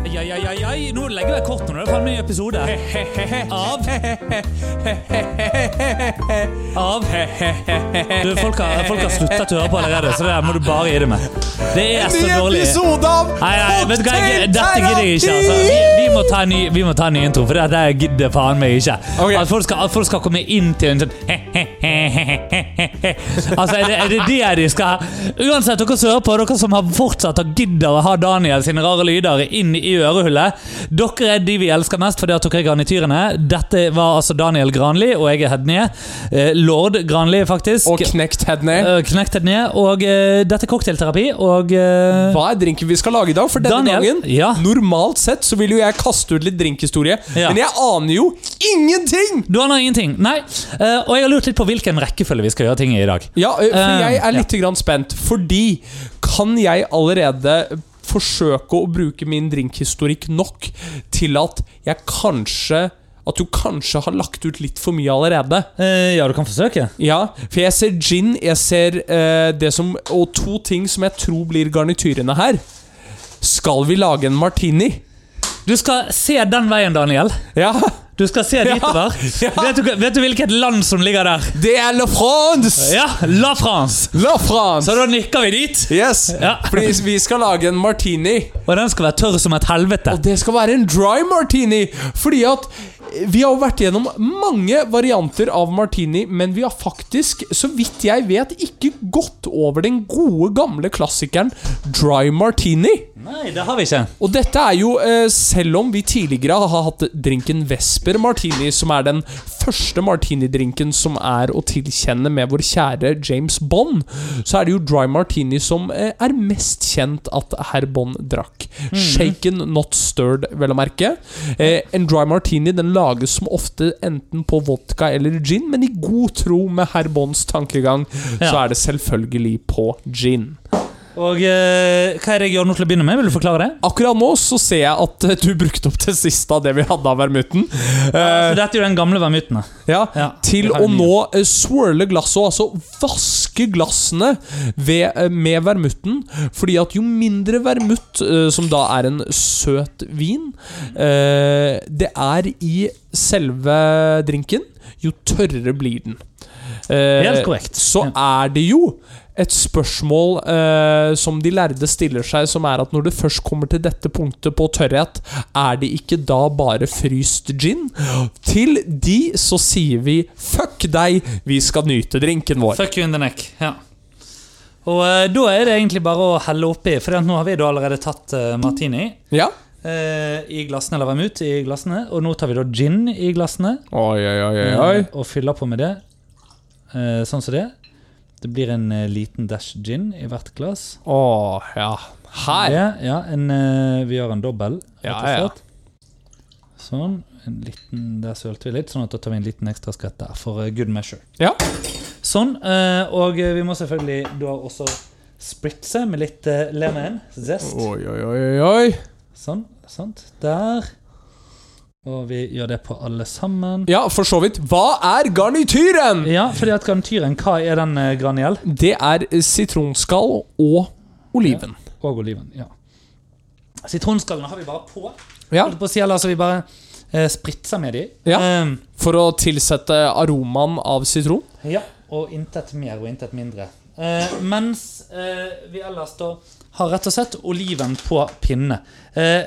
ai, ai, ai, ai. Nå legger jeg kortene. Det er faen meg en episode. Av Av Du, folk har, folk har sluttet å høre på allerede, så det der må du bare gi det med. Det er så Ny dårlig. episode av Nei, nei, vet du hva, jeg, dette gidder jeg ikke, altså. Vi, vi, må ta en ny, vi må ta en ny intro, for dette gidder faen meg ikke. Ok. At, folk skal, at folk skal komme inn til en sånn Altså, er det, er det det de skal Uansett, dere som hører på, dere som har fortsatt har gidder å ha Daniel sine rare lyder inn i ørehullet, dere er de vi elsker mest fordi at dere er garnityrene. Dette var altså Daniel Granli, og jeg er Hednie. Eh, Lord Granli, faktisk. Og knekt Hedney. Eh, Knekt Hednie. Og eh, dette er cocktailterapi, og eh, Hva er drinken vi skal lage i dag? For denne Daniel, gangen ja. Normalt sett så vil jo jeg kaste ut litt drinkhistorie, Ja. men jeg aner jo ingenting! Du aner ingenting. Nei. Eh, og jeg har lurt litt på hvilken rekkefølge vi skal gjøre ting i i dag. Ja, ø, for Eh, jeg ja. er litt grann spent, fordi kan jeg allerede forsøke å bruke min drinkhistorikk nok til at jeg kanskje At du kanskje har lagt ut litt for mye allerede? Eh, ja, du kan forsøke. Ja, for jeg ser gin, jeg ser eh, det som Og to ting som jeg tror blir garnityrene her. Skal vi lage en martini? Du skal se den veien, Daniel. Ja, Du skal se dit Ja, over. ja. Vet, du, vet du hvilket land som ligger der? det er La France! Ja, La France! La France! Så da nikker vi dit. Yes, Ja. fordi vi skal lage en martini. Og den skal være tørr som et helvete. Og det skal være en dry martini! Fordi at vi har jo vært gjennom mange varianter av martini, men vi har faktisk, så vidt jeg vet, ikke gått over den gode, gamle klassikeren dry martini. Nei, det har vi ikke. Og dette er jo, eh, selv om vi tidligere har hatt drinken Vesper Martini, som er den første martinidrinken som er å tilkjenne med vår kjære James Bond, så er det jo Dry Martini som eh, er mest kjent at herr Bond drakk. Shaken, not stirred, vel å merke. Eh, en Dry Martini den lages som ofte enten på vodka eller gin, men i god tro med herr Bonds tankegang, så Ja. er det selvfølgelig på gin. Og eh, hva er det jeg gjør nå til å begynne med? Vil du forklare det? Akkurat nå så ser jeg at eh, du brukte opp det siste av det vi hadde av vermuten. Eh, Så dette er jo den gamle vermuten. da. ja, Ja, til vi har å en ny. nå eh, swirle glasset, og altså vaske glassene ved, eh, med vermuten. Fordi at jo mindre vermut, eh, som da er en søt vin, eh, det er i selve drinken, jo tørrere blir den. Eh, Helt korrekt. Så Ja. er det jo et spørsmål eh, som de lærde stiller seg, som er at når det først kommer til dette punktet på tørrhet, er det ikke da bare fryst gin? Til de så sier vi fuck deg, vi skal nyte drinken vår. Fuck you in the neck. Ja. Og eh, da er det egentlig bare å helle oppi, for at nå har vi da allerede tatt eh, martini. Ja? Eh, I glassene eller vermut i glassene. Og nå tar vi da gin i glassene Oi, oi, oi, oi, eh, og fyller på med det. Eh, sånn som det. Det blir en eh, liten dash gin i hvert glass. Å, ja. Her. Det, ja, en, eh, vi gjør en dobbel, rett Ja, og ja. slett. Sånn. En liten, der sølte vi litt, sånn at da tar vi en liten ekstra skvett der for eh, good measure. Ja. Sånn. eh, og eh, vi må selvfølgelig da også spritse med litt eh, lemon zest. Oi, oi, oi, oi, oi. Sånn. Sant. Der. Og vi gjør det på alle sammen. Ja, for så vidt. Hva er garnityren? Ja, fordi at garantyren, hva er den eh, graniel? Det er sitronskall og oliven. Og oliven, ja. Sitronskallene har vi bare på. Ja. Holdt på å si, eller altså vi bare eh, spritser med de. Ja. Ehm, For å tilsette aromaen av sitron. ja. Og intet mer og intet mindre. Eh, mens eh, vi ellers da har rett og slett oliven på pinne. Eh,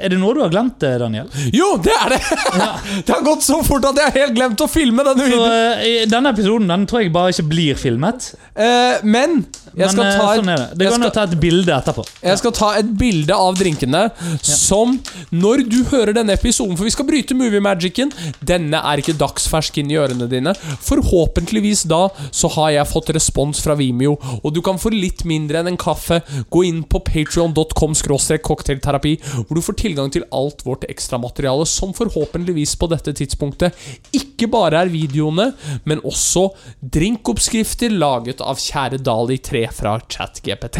er det noe du har glemt, eh, Daniel? Jo, det er det! det har gått så fort at jeg har helt glemt å filme Så, denne videoen. eh, i denne episoden den tror jeg bare ikke blir filmet. Eh, men jeg skal, men eh, ta sånn er det. et, Det jeg, går an å skal, ta et bilde etterpå. jeg skal ta et bilde av drinkene som Når du hører denne episoden, for vi skal bryte moviemagicen Denne er ikke dagsfersk inn i ørene dine. Forhåpentligvis da så har jeg fått respons fra Vimeo, og du kan for litt mindre enn en kaffe gå inn på patreon.com cocktailterapi, hvor du får tilgang til alt vårt ekstramateriale, som forhåpentligvis på dette tidspunktet ikke bare er videoene, men også drinkoppskrifter laget av kjære Dali 3 fra ChatGPT.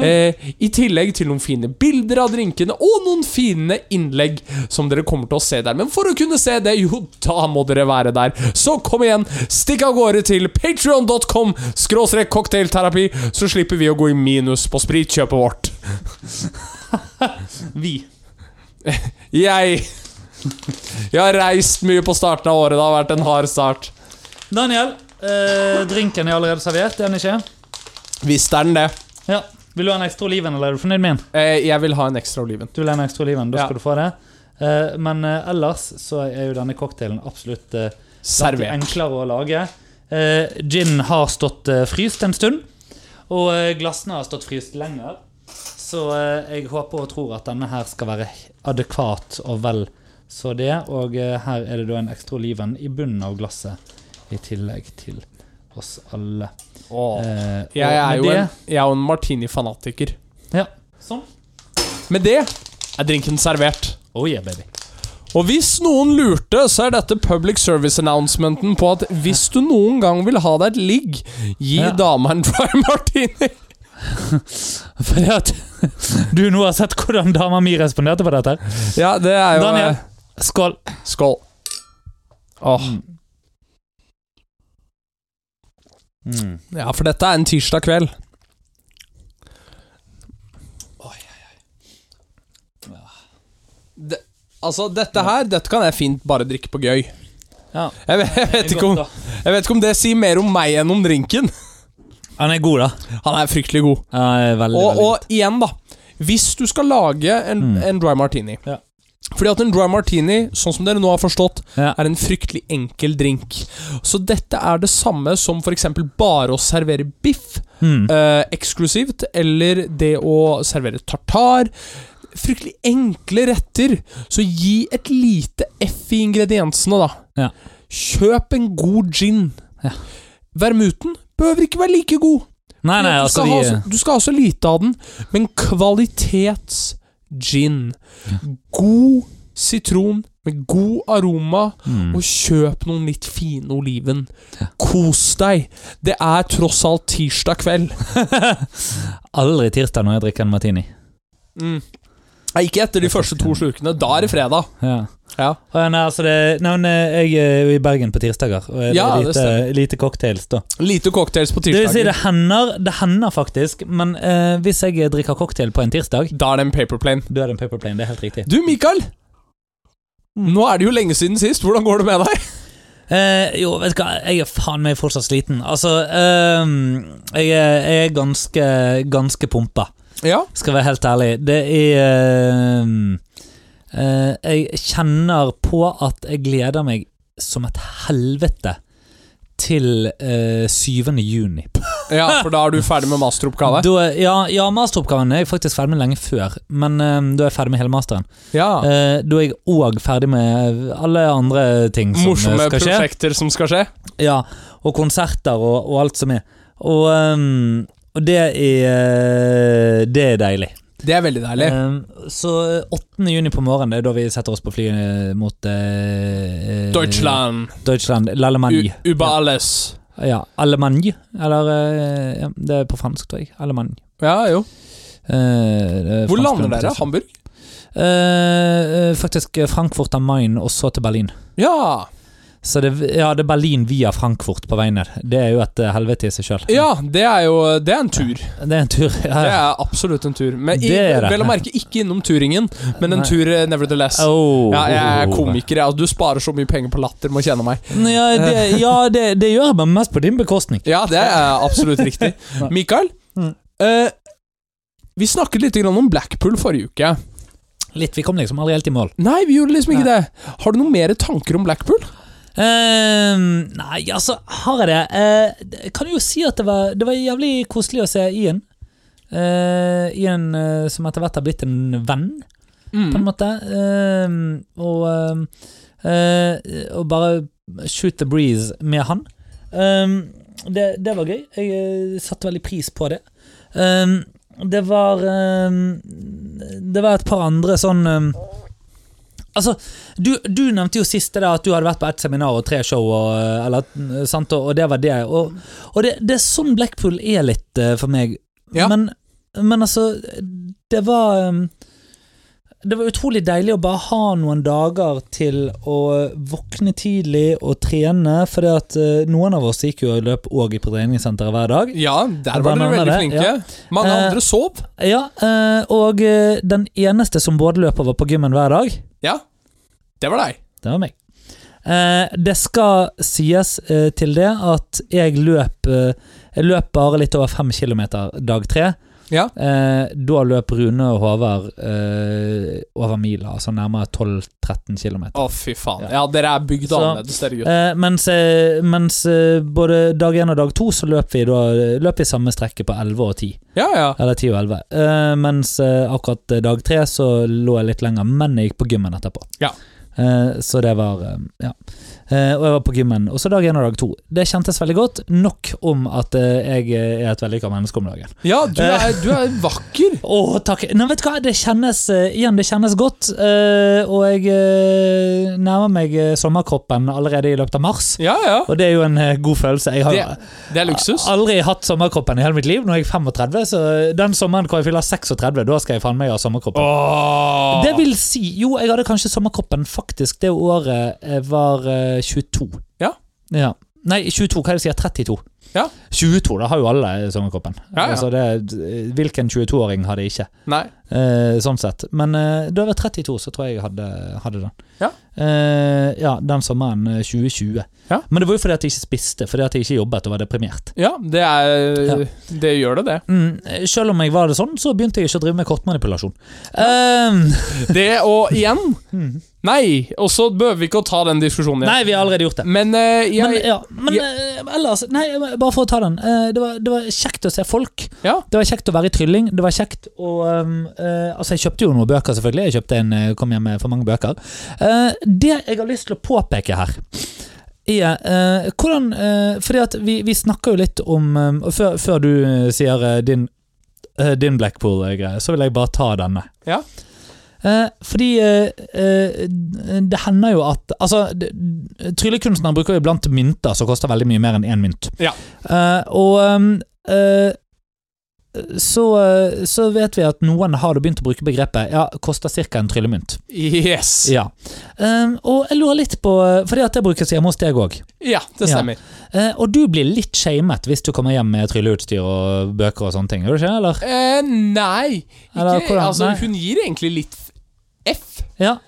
Eh, I tillegg til noen fine bilder av drinkene og noen fine innlegg som dere kommer til å se der. Men for å kunne se det, jo, da må dere være der. Så kom igjen, stikk av gårde til patreon.com skråstrek cocktailterapi, så slipper vi å gå i minus på spritkjøpet vårt. Vi. Jeg Jeg har reist mye på starten av året. Det har vært en hard start. Daniel, eh, drinken er allerede servert, er den ikke? Visst er den det. Ja. Vil du ha en ekstra oliven, eller er du fornøyd med en? Eh, Jeg vil ha en ekstra oliven. Du vil ha en ekstra oliven, da Ja. skal du få det. Eh, men eh, ellers så er jo denne cocktailen absolutt eh, blant de Server. enklere å lage. Eh, gin har stått eh, fryst en stund, og eh, glassene har stått fryst lenger. Så eh, jeg håper og tror at denne her skal være adekvat og vel så det. Og eh, her er det da en ekstra oliven i bunnen av glasset, i tillegg til oss alle. Åh. Eh, og Jeg er med jo det- en, jeg er jo en martini-fanatiker. Ja. Sånn. Med det er drinken servert. Oh yeah, baby. Og hvis noen lurte, så er dette public service announcementen på at hvis du noen gang vil ha deg et ligg, gi Ja. dama en dry martini. Fordi at du nå har sett hvordan dama mi responderte på dette. her. Ja, det er jo eh, Daniel. Skål. Skål. Åh, Mm. ja, for dette er en tirsdag kveld. Det, altså, dette her Dette kan jeg fint bare drikke på gøy. Ja. Jeg, vet- jeg, vet Det er ikke om, godt, jeg vet ikke om det sier mer om meg enn om drinken. da. Han er god, da. Han er fryktelig god. Ja, det er veldig, Og, veldig og igjen, da. Hvis du skal lage en, en dry martini Ja. Fordi at en dry martini, sånn som dere nå har forstått, Ja. er en fryktelig enkel drink. Så dette er det samme som f.eks. bare å servere biff Mm. eh, eksklusivt, eller det å servere tartar. Fryktelig enkle retter. Så gi et lite F i ingrediensene, da. Ja. Kjøp en god gin. Ja. Vermuten behøver ikke være like god. Nei, nei, du, altså skal ha, de så- du skal ha så lite av den, men kvalitetsgin. God sitron med god aroma, og kjøp noen litt fine oliven. Kos deg! Det er tross alt tirsdag kveld. Aldri tirsdag når jeg drikker en martini. Mm. Nei, ikke etter de første to slukene. Da er det fredag. Ja. Ja. Og, nei, altså det, nei, men, eh, jeg er jo i Bergen på tirsdager, og det er Ja, det lite, lite cocktails, da. Lite cocktails på Det vil si, tirsdager. det hender, det hender faktisk, men eh, hvis jeg drikker cocktail på en tirsdag, Da er det en paperplane. da er det en paper plane. Det er helt riktig. Du, Mikael! Mm. Nå er det jo lenge siden sist. Hvordan går det med deg? Eh, jo, vet du hva, jeg er faen meg fortsatt sliten. Altså, eh, jeg, er, jeg er ganske, ganske pumpa, Ja, skal være helt ærlig. Det er eh, eh, Jeg kjenner på at jeg gleder meg som et helvete til eh, 7. juni. ja for da er du ferdig med masteroppgave? Da, ja, ja, masteroppgaven er jeg faktisk ferdig med lenge før, men eh, da er jeg ferdig med hele masteren. Ja. Eh, da er jeg òg ferdig med alle andre ting som eh, Morsomme skal skje. prosjekter som skal skje? Ja, og konserter og, og alt som er. Og, ehm, og det er Det er deilig. Det er veldig deilig. Ehm, så 8. juni på morgenen, det er da vi setter oss på flyet mot eh, eh, Deutschland. Deutschland. L'Allemagne. U- Uber alles. Ja, Allemagne. Eller eh, ja, Det er på fransk, tror jeg. Allemagne. Ja, jo. Eh, det er Hvor fransk lander dere? pronunciation. Hamburg? Eh, eh, faktisk Frankfurt am Main, og så til Berlin. Ja. Så det, ja, det er Berlin via Frankfurt på veien ned. Det er jo et eh, helvete i seg sjøl. ja, det er jo Det er en tur. Det er en tur. Ja, Det ja. er absolutt en tur. Men i, Det er det. Vel å merke ikke innom turingen, men en Nei. tur eh, nevertheless. Oh. Ja, jeg er komiker. Jeg. Altså, Du sparer så mye penger på latter med å kjenne meg. Nei, Ja, det, ja det, det gjør jeg, men mest på din bekostning. Ja, det er absolutt riktig. Mikael, Mm. eh, vi snakket litt grann om Blackpool forrige uke. Litt, Vi kom liksom aldri helt i mål. Nei, vi gjorde liksom ikke det. Har du noen mer tanker om Blackpool? Ehm, nei, altså, har jeg det? Eh, det- kan jo si at det var, det var jævlig koselig å se Ian. Eh, Ian eh, som etter hvert har blitt en venn, på Mm. en måte. Ehm, og, eh, eh, og bare shoot the breeze med han. Ehm, det, det var gøy. Jeg eh, satte veldig pris på det. Ehm, det var ehm, Det var et par andre sånn ehm, Altså, du, du nevnte jo sist det der at du hadde vært på ett seminar og tre show, og, eh, eller, eh, sant, og, og det var det. Og, og det, det er sånn Blackpool er litt eh, for meg. Ja. Men, men altså, det var ehm, det var utrolig deilig å bare ha noen dager til å våkne tidlig og trene. For at eh, noen av oss gikk jo og løp òg på treningssenteret hver dag. Ja, der Jeg var bare dere nevner veldig det, flinke. ja. Mange Eh, andre sov. Ja, eh, Og eh, den eneste som både løp og var på gymmen hver dag, Ja, det var deg. det var meg. Eh, Det skal sies eh, til det at jeg løp eh, Jeg løp bare litt over fem kilometer dag tre. Ja. Eh, Da løp Rune og Håvard eh, over mila, altså nærmere 12-13 km. Å, fy faen. Ja. Ja, dere er bygd Så- annerledes, dere gutter. Eh, mens eh, mens eh, både dag én og dag to så løp vi, da, løp vi samme strekket på 11 og 10. Ja, ja. Eller 10 og 11. Eh, mens eh, akkurat eh, dag tre så lå jeg litt lenger, men jeg gikk på gymmen etterpå. Ja. Eh, så det var eh, Ja. Eh, og jeg var på gymmen. Og så dag én og dag to. Det kjentes veldig godt. Nok om at eh, jeg eh, er et vellykka menneske om dagen. Ja, du Eh. er, du er vakker. Å, takk. Nei, vet du hva, det kjennes eh, igjen, det kjennes godt. Eh, og jeg eh, nærmer meg eh, sommerkroppen allerede i løpet av mars. Ja, ja. Og det er jo en eh, god følelse. Jeg har Det, det er luksus. aldri hatt sommerkroppen i hele mitt liv. Nå er jeg 35, så den sommeren hvor jeg fyller 36, da skal jeg faen meg ha sommerkroppen. Åh. Ah, Det vil si Jo, jeg hadde kanskje sommerkroppen faktisk det året jeg var eh, 22. Ja. ja. Nei, 22, hva er det jeg sier? 32. Ja. 22, da har jo alle sommerkroppen. Ja, ja. Altså det, hvilken 22-åring har det ikke? Nei. Eh, sånn sett. Men eh, da jeg var 32, så tror jeg jeg hadde, hadde den. Ja. Eh, ja, den sommeren eh, 2020. Ja. Men det var jo fordi at jeg ikke spiste, fordi at jeg ikke jobbet og var deprimert. Ja, det er Ja. Det gjør det, det. Mm, eh, selv om jeg var det sånn, så begynte jeg ikke å drive med kortmanipulasjon. Eh, Det, og igjen Mhm. Nei, og så behøver vi ikke å ta den diskusjonen igjen. nei, vi har allerede gjort det. Men eh, jeg Men, ja, men eh, ellers Nei, bare for å ta den. Eh, det, var, det var kjekt å se folk. Ja. Det var kjekt å være i trylling. Det var kjekt å um, eh, Altså, jeg kjøpte jo noen bøker, selvfølgelig. Jeg kjøpte en, eh, kom hjem med for mange bøker. Eh, det jeg har lyst til å påpeke her, er eh, hvordan eh, Fordi at vi, vi snakker jo litt om eh, og før, før du eh, sier eh, din, eh, din Blackpool-greie, så vil jeg bare ta denne. Ja. Eh, fordi eh, eh, det hender jo at Altså, det- tryllekunstnere bruker jo iblant mynter som koster veldig mye mer enn én mynt. Ja. Eh, og um, eh, så, eh, så vet vi at noen har da begynt å bruke begrepet ja, koster ca. en tryllemynt. Yes. Ja, Ja. Um, og jeg lurer litt på Fordi at det brukes hjemme hos deg òg. det Ja. stemmer. og du blir litt shamet hvis du kommer hjem med trylleutstyr og bøker og sånne ting. Gjør du ikke? Eller? Eh, nei. Ikke, Eller hvordan? altså, Nei. hun gir egentlig litt F. Ja.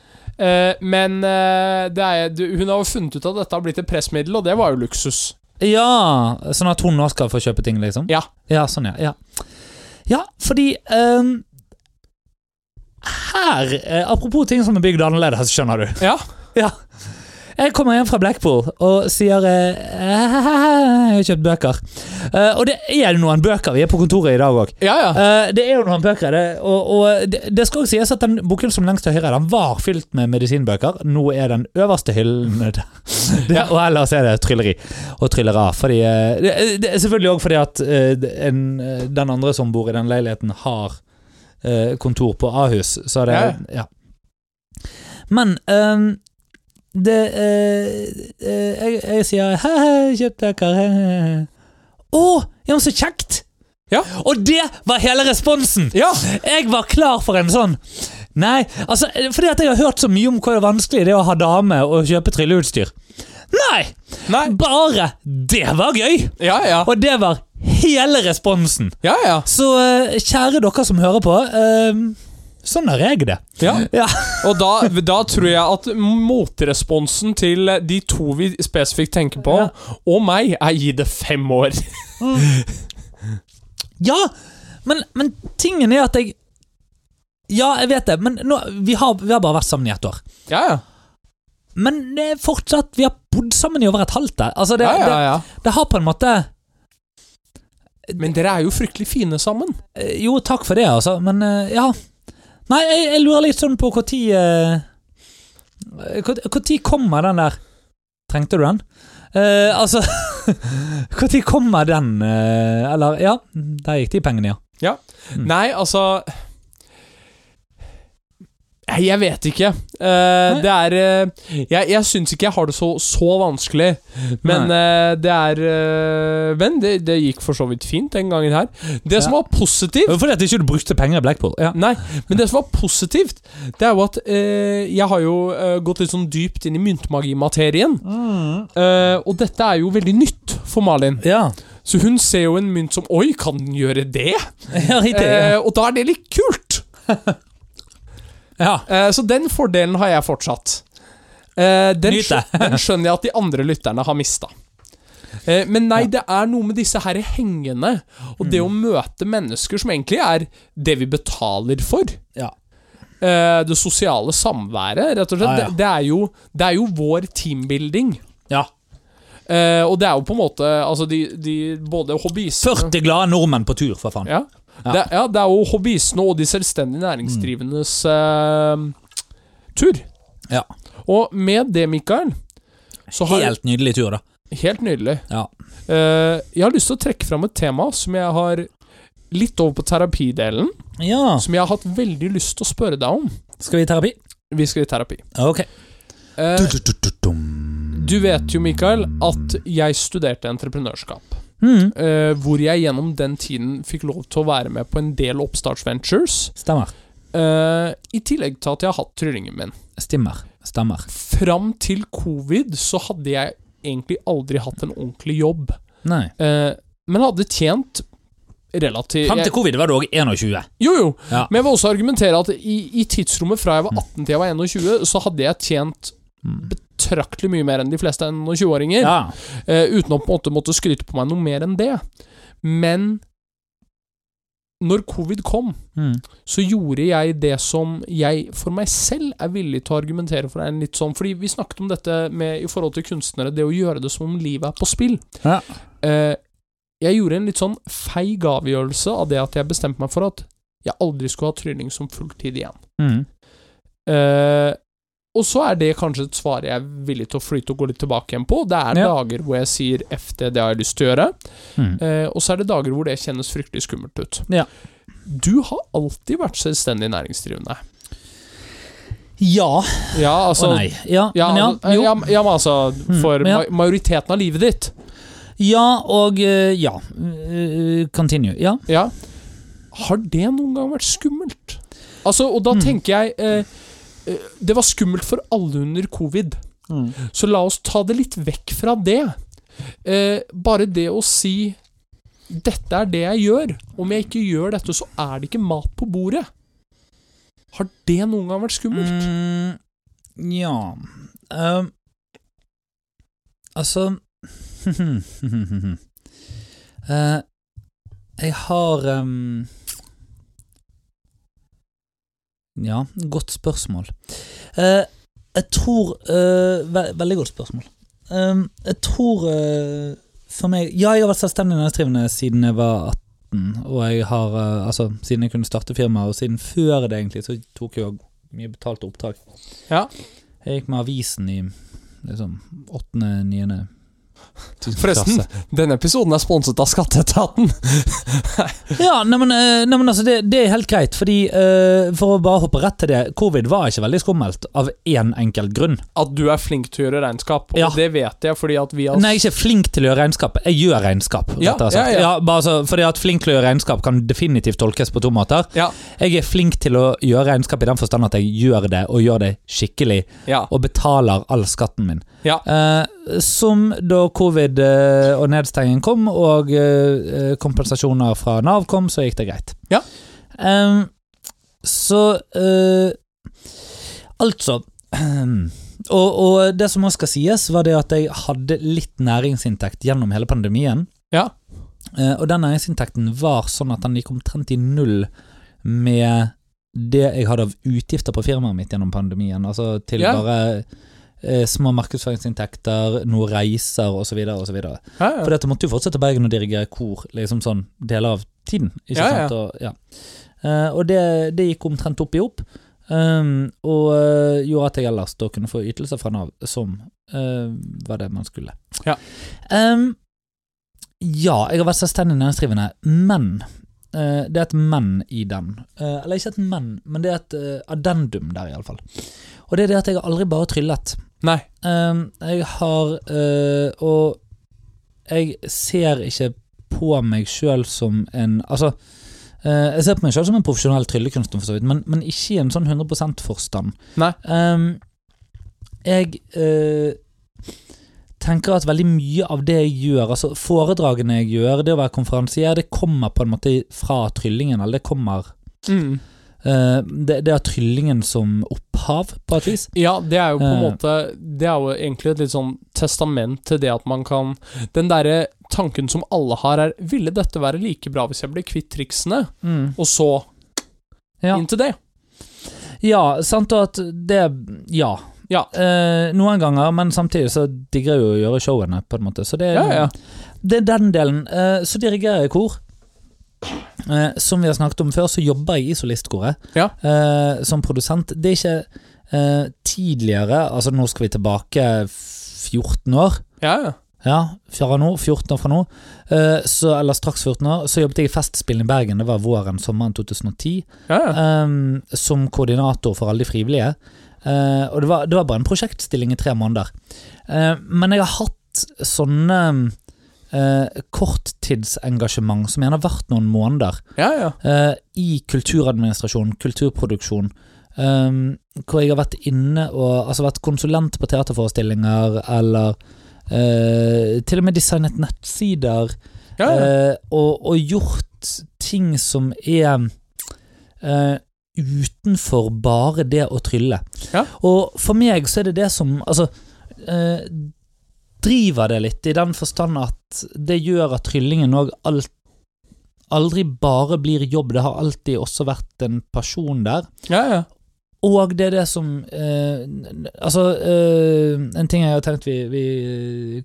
Eh, men eh, det er, du, hun har jo funnet ut at dette har blitt et pressmiddel, og det var jo luksus. Ja, sånn at hun nå skal få kjøpe ting, liksom? Ja. Ja, sånn, ja. Ja, ja fordi ehm, Her eh, Apropos ting som er bygd annerledes, skjønner du. Ja. Ja. Jeg kommer hjem fra Blackpool og sier eh, Jeg har kjøpt bøker. Eh, og det er noen bøker. Vi er på kontoret i dag òg. Ja, ja. det er jo noen bøker det, og, og det, det skal også sies at den bokhyllen som lengst til høyre Den var fylt med medisinbøker. Nå er den øverste hyllen der. Det, og ellers er det trylleri og tryllera. Fordi, eh, det, det er selvfølgelig òg fordi at eh, en, eh, den andre som bor i den leiligheten, har eh, kontor på Ahus. Så det Ja. Ja. Men eh, det eh, eh, jeg, jeg sier Hei, hei, kjøpt bøker. Hei, hei, hei. Å, ja, men så kjekt! Ja. Og det var hele responsen! ja. Jeg var klar for en sånn Nei, altså, fordi at jeg har hørt så mye om hvor vanskelig det er å ha dame og kjøpe trylleutstyr. Nei! Nei. Bare det var gøy! Ja, ja. Og det var hele responsen. Ja, ja. Så eh, kjære dere som hører på, eh, sånn har jeg det. ja. Ja. Og da, da tror jeg at motresponsen til de to vi spesifikt tenker på, Ja. og meg, er gi det fem år. Ja, men, men tingen er at jeg Ja, jeg vet det, men nå, vi, har, vi har bare vært sammen i ett år. Ja, ja. Men det er fortsatt Vi har bodd sammen i over et halvt der. Altså, det, ja, ja, ja. Det, det har på en måte Men dere er jo fryktelig fine sammen. Eh, Jo, takk for det, altså, men eh, ja Nei, jeg, jeg lurer litt sånn på når Når kommer den der Trengte du den? Eh, altså Når kommer den eh, Eller, ja, der gikk de pengene, ja. Mm. altså, Nei, altså Jeg vet ikke. Eh, det er eh, Jeg, jeg syns ikke jeg har det så, så vanskelig. Men eh, det er eh, Men det, det gikk for så vidt fint den gangen her. Det som var positivt Fordi at ikke du brukte penger i Blackpool. Ja. Nei, men det som var positivt, det er jo at eh, jeg har jo eh, gått litt sånn dypt inn i myntmagimaterien. Eh, og dette er jo veldig nytt for Malin. Ja, Så hun ser jo en mynt som Oi, kan den gjøre det? ja riktig. Eh, Ja. og da er det litt kult! Ja. Eh, Så den fordelen har jeg fortsatt. Eh, Den, Nyt det. skjø- den skjønner jeg at de andre lytterne har mista. Eh, Men nei, det er noe med disse her hengende, og det å Mm. møte mennesker som egentlig er det vi betaler for. Ja. Eh, Det sosiale samværet, rett og Ja, slett. ja. Det, det, er jo, det er jo vår teambuilding. ja. Eh, og det er jo på en måte Altså, de, de både hobbyistene 40 glade nordmenn på tur, for faen. ja. Det, ja, det er jo hobbyistene og de selvstendig næringsdrivendes Mm. eh, tur. Ja. Og med det, Mikael så har Helt nydelig tur, da. Helt nydelig. Ja. Eh, jeg har lyst til å trekke fram et tema som jeg har litt over på terapidelen. ja. Som jeg har hatt veldig lyst til å spørre deg om. Skal vi i terapi? Vi skal i terapi. Ok. Eh, Du-du-du-du-dum. du vet jo, Mikael, at jeg studerte entreprenørskap. Mm. eh, hvor jeg gjennom den tiden fikk lov til å være med på en del oppstartsventures. Stemmer. eh, I tillegg til at jeg har hatt tryllingen min. Stimmer. Stemmer. Fram til covid så hadde jeg egentlig aldri hatt en ordentlig jobb. Nei. Eh, men hadde tjent relativt Fram til covid var du òg 21. Jo, jo. Ja. Mm. Men jeg vil også argumentere at i, i tidsrommet fra jeg var 18 til jeg var 21, så hadde jeg tjent betraktelig mye mer enn de fleste 21-åringer. Ja. eh, uten å på en måte måtte skryte på meg noe mer enn det. Men når covid kom, Mm. så gjorde jeg det som jeg for meg selv er villig til å argumentere for. er en litt sånn, fordi vi snakket om dette med, i forhold til kunstnere, det å gjøre det som om livet er på spill. Ja. Eh, jeg gjorde en litt sånn feig avgjørelse av det at jeg bestemte meg for at jeg aldri skulle ha trylling som fulltid igjen. Mm. Eh, og så er det kanskje et svar jeg er villig til å flyte og gå litt tilbake igjen på. Det er Ja. dager hvor jeg sier F det, det har jeg lyst til å gjøre. Mm. Eh, og så er det dager hvor det kjennes fryktelig skummelt ut. Ja. Du har alltid vært selvstendig næringsdrivende. Ja Ja, og altså nei. Ja, Ja, men ja. altså, Jo. Mm. ja, men- ja, men altså For men ja. ma- majoriteten av livet ditt. Ja og eh, ja. Eh, Continue. Ja. Ja. Har det noen gang vært skummelt? Altså, og da tenker jeg eh, eh, Det var skummelt for alle under covid. Mm. Så la oss ta det litt vekk fra det. Eh, bare det å si 'dette er det jeg gjør', om jeg ikke gjør dette, så er det ikke mat på bordet. Har det noen gang vært skummelt? Mm, ja Ehm, Altså Eh, Jeg har ehm, Ja, godt spørsmål. Eh, jeg tror eh, ve Veldig godt spørsmål. Ehm, jeg tror eh, for meg Ja, jeg har vært selvstendig næringsdrivende siden jeg var 18. Og jeg har, eh, altså, siden jeg kunne starte firma, og siden før det, egentlig, så tok jeg jo mye betalte oppdrag. Ja. Jeg gikk med avisen i liksom åttende, niende Forresten, denne episoden er sponset av Skatteetaten. Ja, nei, men, eh, nei, men altså det, det er helt greit, fordi eh, for å bare hoppe rett til det Covid var ikke veldig skummelt av én enkelt grunn. At du er flink til å gjøre regnskap, og Ja. det vet jeg fordi at vi har Nei, jeg er ikke flink til å gjøre regnskap. Jeg gjør regnskap. Altså- Ja, rettere sagt. ja, ja. bare så, fordi at flink til å gjøre regnskap kan definitivt tolkes på to måter. Ja, Jeg er flink til å gjøre regnskap i den forstand at jeg gjør det, og gjør det skikkelig, ja, og betaler all skatten min. ja. Eh, som da covid eh, og nedstengingen kom, og eh, eh, kompensasjoner fra Nav kom, så gikk det greit. Ja. Em, så eh, Altså og, og det som også skal sies, var det at jeg hadde litt næringsinntekt gjennom hele pandemien. Ja. Eh, og den næringsinntekten var sånn at den gikk omtrent i null med det jeg hadde av utgifter på firmaet mitt gjennom pandemien. Altså til Ja. bare eh, små markedsføringsinntekter, noe reiser osv. osv. For ja, ja. dette måtte jo fortsette Bergen og dirigere kor liksom sånn deler av tiden. Ikke Ja, ja. sant? Og, ja. Eh, og det, det gikk omtrent opp i opp, ehm, og eh, gjorde at jeg ellers da kunne få ytelser fra Nav som eh, var det man skulle. Um, Ja. Ehm, ja, jeg har vært selvstendig næringsdrivende, men eh, det er et men i den. Eh, eller ikke et men, men det er et eh, addendum der, iallfall. Og det er det at jeg har aldri bare tryllet. Nei. Ehm, jeg har eh, Og jeg ser ikke på meg sjøl som en Altså, eh, jeg ser på meg sjøl som en profesjonell tryllekunstner, for så vidt, men, men ikke i en sånn 100 forstand. Nei. Ehm, jeg eh, tenker at veldig mye av det jeg gjør, altså foredragene jeg gjør, det å være konferansier, det kommer på en måte fra tryllingen, eller det kommer Mm. eh, det, det har tryllingen som opphav, på et vis. Ja, det er jo på en Eh. måte Det er jo egentlig et litt sånn testament til det at man kan Den derre tanken som alle har, er Ville dette være like bra hvis jeg ble kvitt triksene? Og så Ja. inn til det. Ja, sant og at det Ja. Ja. Eh, noen ganger, men samtidig så digger jeg jo å gjøre showene, på en måte. Så det, Ja, ja. det er den delen. Eh, så dirigerer jeg kor. Eh, som vi har snakket om før, så jobber jeg i solistkoret Ja. eh, som produsent. Det er ikke eh, tidligere Altså, nå skal vi tilbake 14 år. Ja, ja. Ja, fra nå, 14 år fra nå, eh, så, eller straks 14 år, så jobbet jeg i Festspillene i Bergen. Det var våren, sommeren 2010 ja, ja. um, som koordinator for alle de frivillige. Eh, og det var, det var bare en prosjektstilling i tre måneder. Eh, men jeg har hatt sånne eh, korttidsengasjement som gjerne har vært noen måneder, ja, ja. eh, i kulturadministrasjon, kulturproduksjon. eh, hvor jeg har vært inne og altså vært konsulent på teaterforestillinger, eller eh, til og med designet nettsider. ja, ja. Eh, og, og gjort ting som er eh, utenfor bare det å trylle. Ja. Og for meg så er det det som altså, eh, driver det litt, i den forstand at det gjør at tryllingen òg aldri bare blir jobb. Det har alltid også vært en person der. ja, ja. Og det er det som eh, n- Altså, eh, en ting jeg har tenkt vi, vi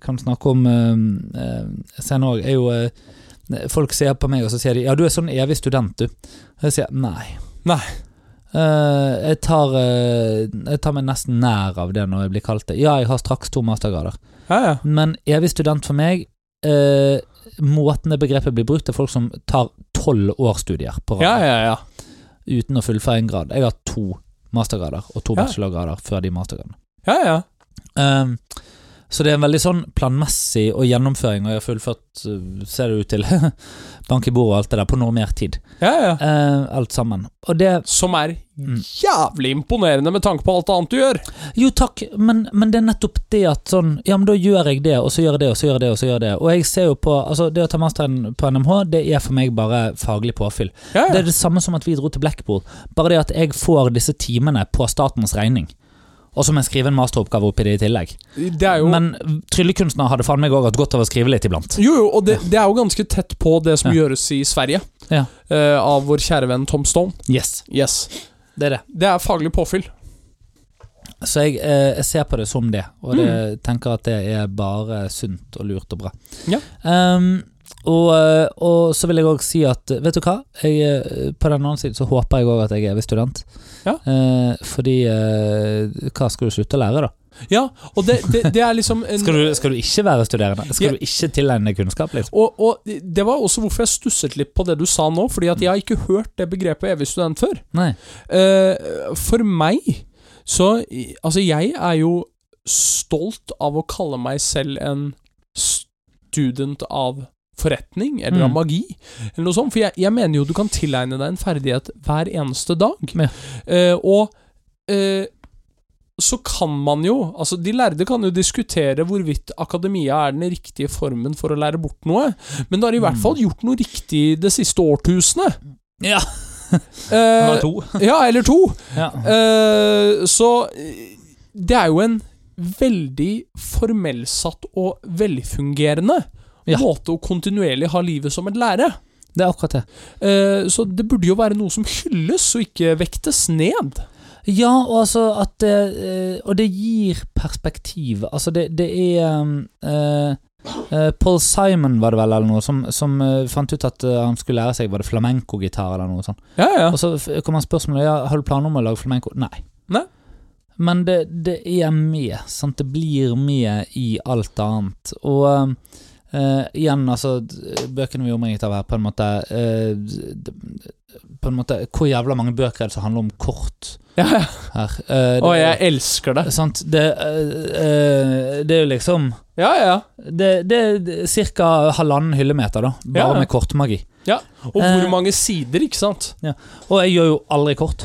kan snakke om eh, eh, senere òg, er jo eh, Folk ser på meg og så sier de 'ja, du er sånn evig student, du'. Og jeg sier nei. Nei. Eh, jeg, tar, eh, jeg tar meg nesten nær av det når jeg blir kalt det. Ja, jeg har straks to mastergrader. ja, ja. Men evig student for meg eh, Måten det begrepet blir brukt, er folk som tar tolv årsstudier på rad ja, ja, ja. uten å fullføre en grad. Jeg har to mastergrader og to Ja. bachelorgrader før de mastergradene. ja, ja. Ehm, så det er en veldig sånn planmessig og gjennomføring, og jeg har fullført, øh, ser det ut til, bank i bordet og alt det der, på normert tid. ja, ja. Ehm, alt sammen. Og det Som er Mm. jævlig imponerende med tanke på alt annet du gjør. Jo, takk, men, men det er nettopp det at sånn Ja, men da gjør jeg det, og så gjør jeg det, og så gjør jeg det, og så gjør jeg det. Og jeg ser jo på Altså, det å ta masteren på NMH, det er for meg bare faglig påfyll. Ja, Det ja. er det samme som at vi dro til Blackpool, bare det at jeg får disse timene på statens regning. Og så må jeg skrive en masteroppgave oppi det i tillegg. Det er jo Men tryllekunstnere hadde faen meg òg hatt godt av å skrive litt iblant. Jo, jo, og det, det er jo ganske tett på det som Ja. gjøres i Sverige. Ja. eh, av vår kjære venn Tom Stone. Yes, Yes. det er det. Det er faglig påfyll. Så jeg, eh, jeg ser på det som det, og det, tenker at det er bare sunt og lurt og bra. Ja. Ehm, og, eh, og så vil jeg òg si at vet du hva, jeg, eh, på den annen side så håper jeg òg at jeg er evig student. Ja. Eh, fordi eh, hva skal du slutte å lære, da? Ja, og det, det, det er liksom en, Skal du, skal du ikke være studerende? Skal Ja. du ikke tilegne deg kunnskap? Liksom? og, og det var også hvorfor jeg stusset litt på det du sa nå, fordi at jeg har ikke hørt det begrepet evig student før. Nei. Eh, for meg så Altså, jeg er jo stolt av å kalle meg selv en student av forretning, eller av Mm. magi, eller noe sånt. For jeg, jeg mener jo du kan tilegne deg en ferdighet hver eneste dag. Ja. Eh, og eh, så kan man jo Altså, de lærde kan jo diskutere hvorvidt akademia er den riktige formen for å lære bort noe, men det har i hvert Mm. fall gjort noe riktig det siste årtusenet. Ja, Eh, to. ja, eller to. Ja. Eh, så eh, det er jo en veldig formellsatt og velfungerende Ja. måte å kontinuerlig ha livet som en lære. Det er akkurat det. Eh, så det burde jo være noe som hylles og ikke vektes ned. Ja, og altså at det eh, Og det gir perspektiv. Altså, det, det er eh, eh, Paul Simon, var det vel, eller noe, som, som eh, fant ut at eh, han skulle lære seg Var det flamenco-gitar eller noe sånt. Ja, ja. Og så f- kom han spørsmålet ja, Har du planer om å lage flamenco. Nei. Nei. Men det, det er med. Sant? Det blir med i alt annet. Og Eh, igjen, altså, d- bøkene vi er omringet av her, på en måte eh, d- d- På en måte, Hvor jævla mange bøker er det som handler om kort Ja, ja. her? Eh, Å, jeg elsker det. Sant? Det, eh, eh, det er jo liksom Ja, ja. Det, det er ca. halvannen hyllemeter, da. Bare Ja. med kortmagi. Og hvor Eh. mange sider, ikke sant? Og jeg gjør jo aldri kort.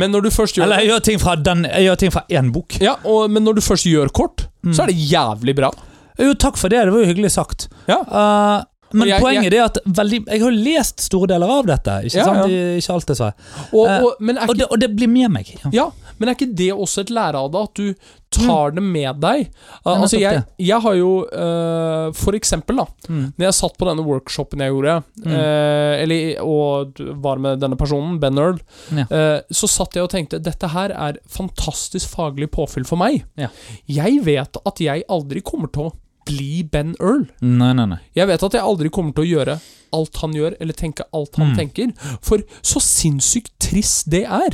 Men når du først gjør Eller jeg gjør ting fra den Jeg gjør ting fra én bok. ja, og, men når du først gjør kort, Mm. så er det jævlig bra. Jo, takk for det. Det var jo hyggelig sagt. Ja. Eh, men Og jeg- poenget er at veldig, jeg har jo lest store deler av dette. Ikke Ja, sant? ja. I- Ikke alt, dessverre. Og, Eh, og, men, er Og ikke, det, og det blir med meg. Ja. ja, men er ikke det også et lære av det, at du tar det med deg? er altså, Mm. nettopp jeg, det. jeg har jo eh, For eksempel, da. Mm. Når jeg satt på denne workshopen jeg gjorde, eh, eller, og var med denne personen, Ben Earl, Ja. eh, så satt jeg og tenkte dette her er fantastisk faglig påfyll for meg. Ja. Jeg vet at jeg aldri kommer til å bli Ben Earl. Nei, nei, nei. Jeg vet at jeg aldri kommer til å gjøre alt han gjør, eller tenke alt han Mm. tenker. For så sinnssykt trist det er.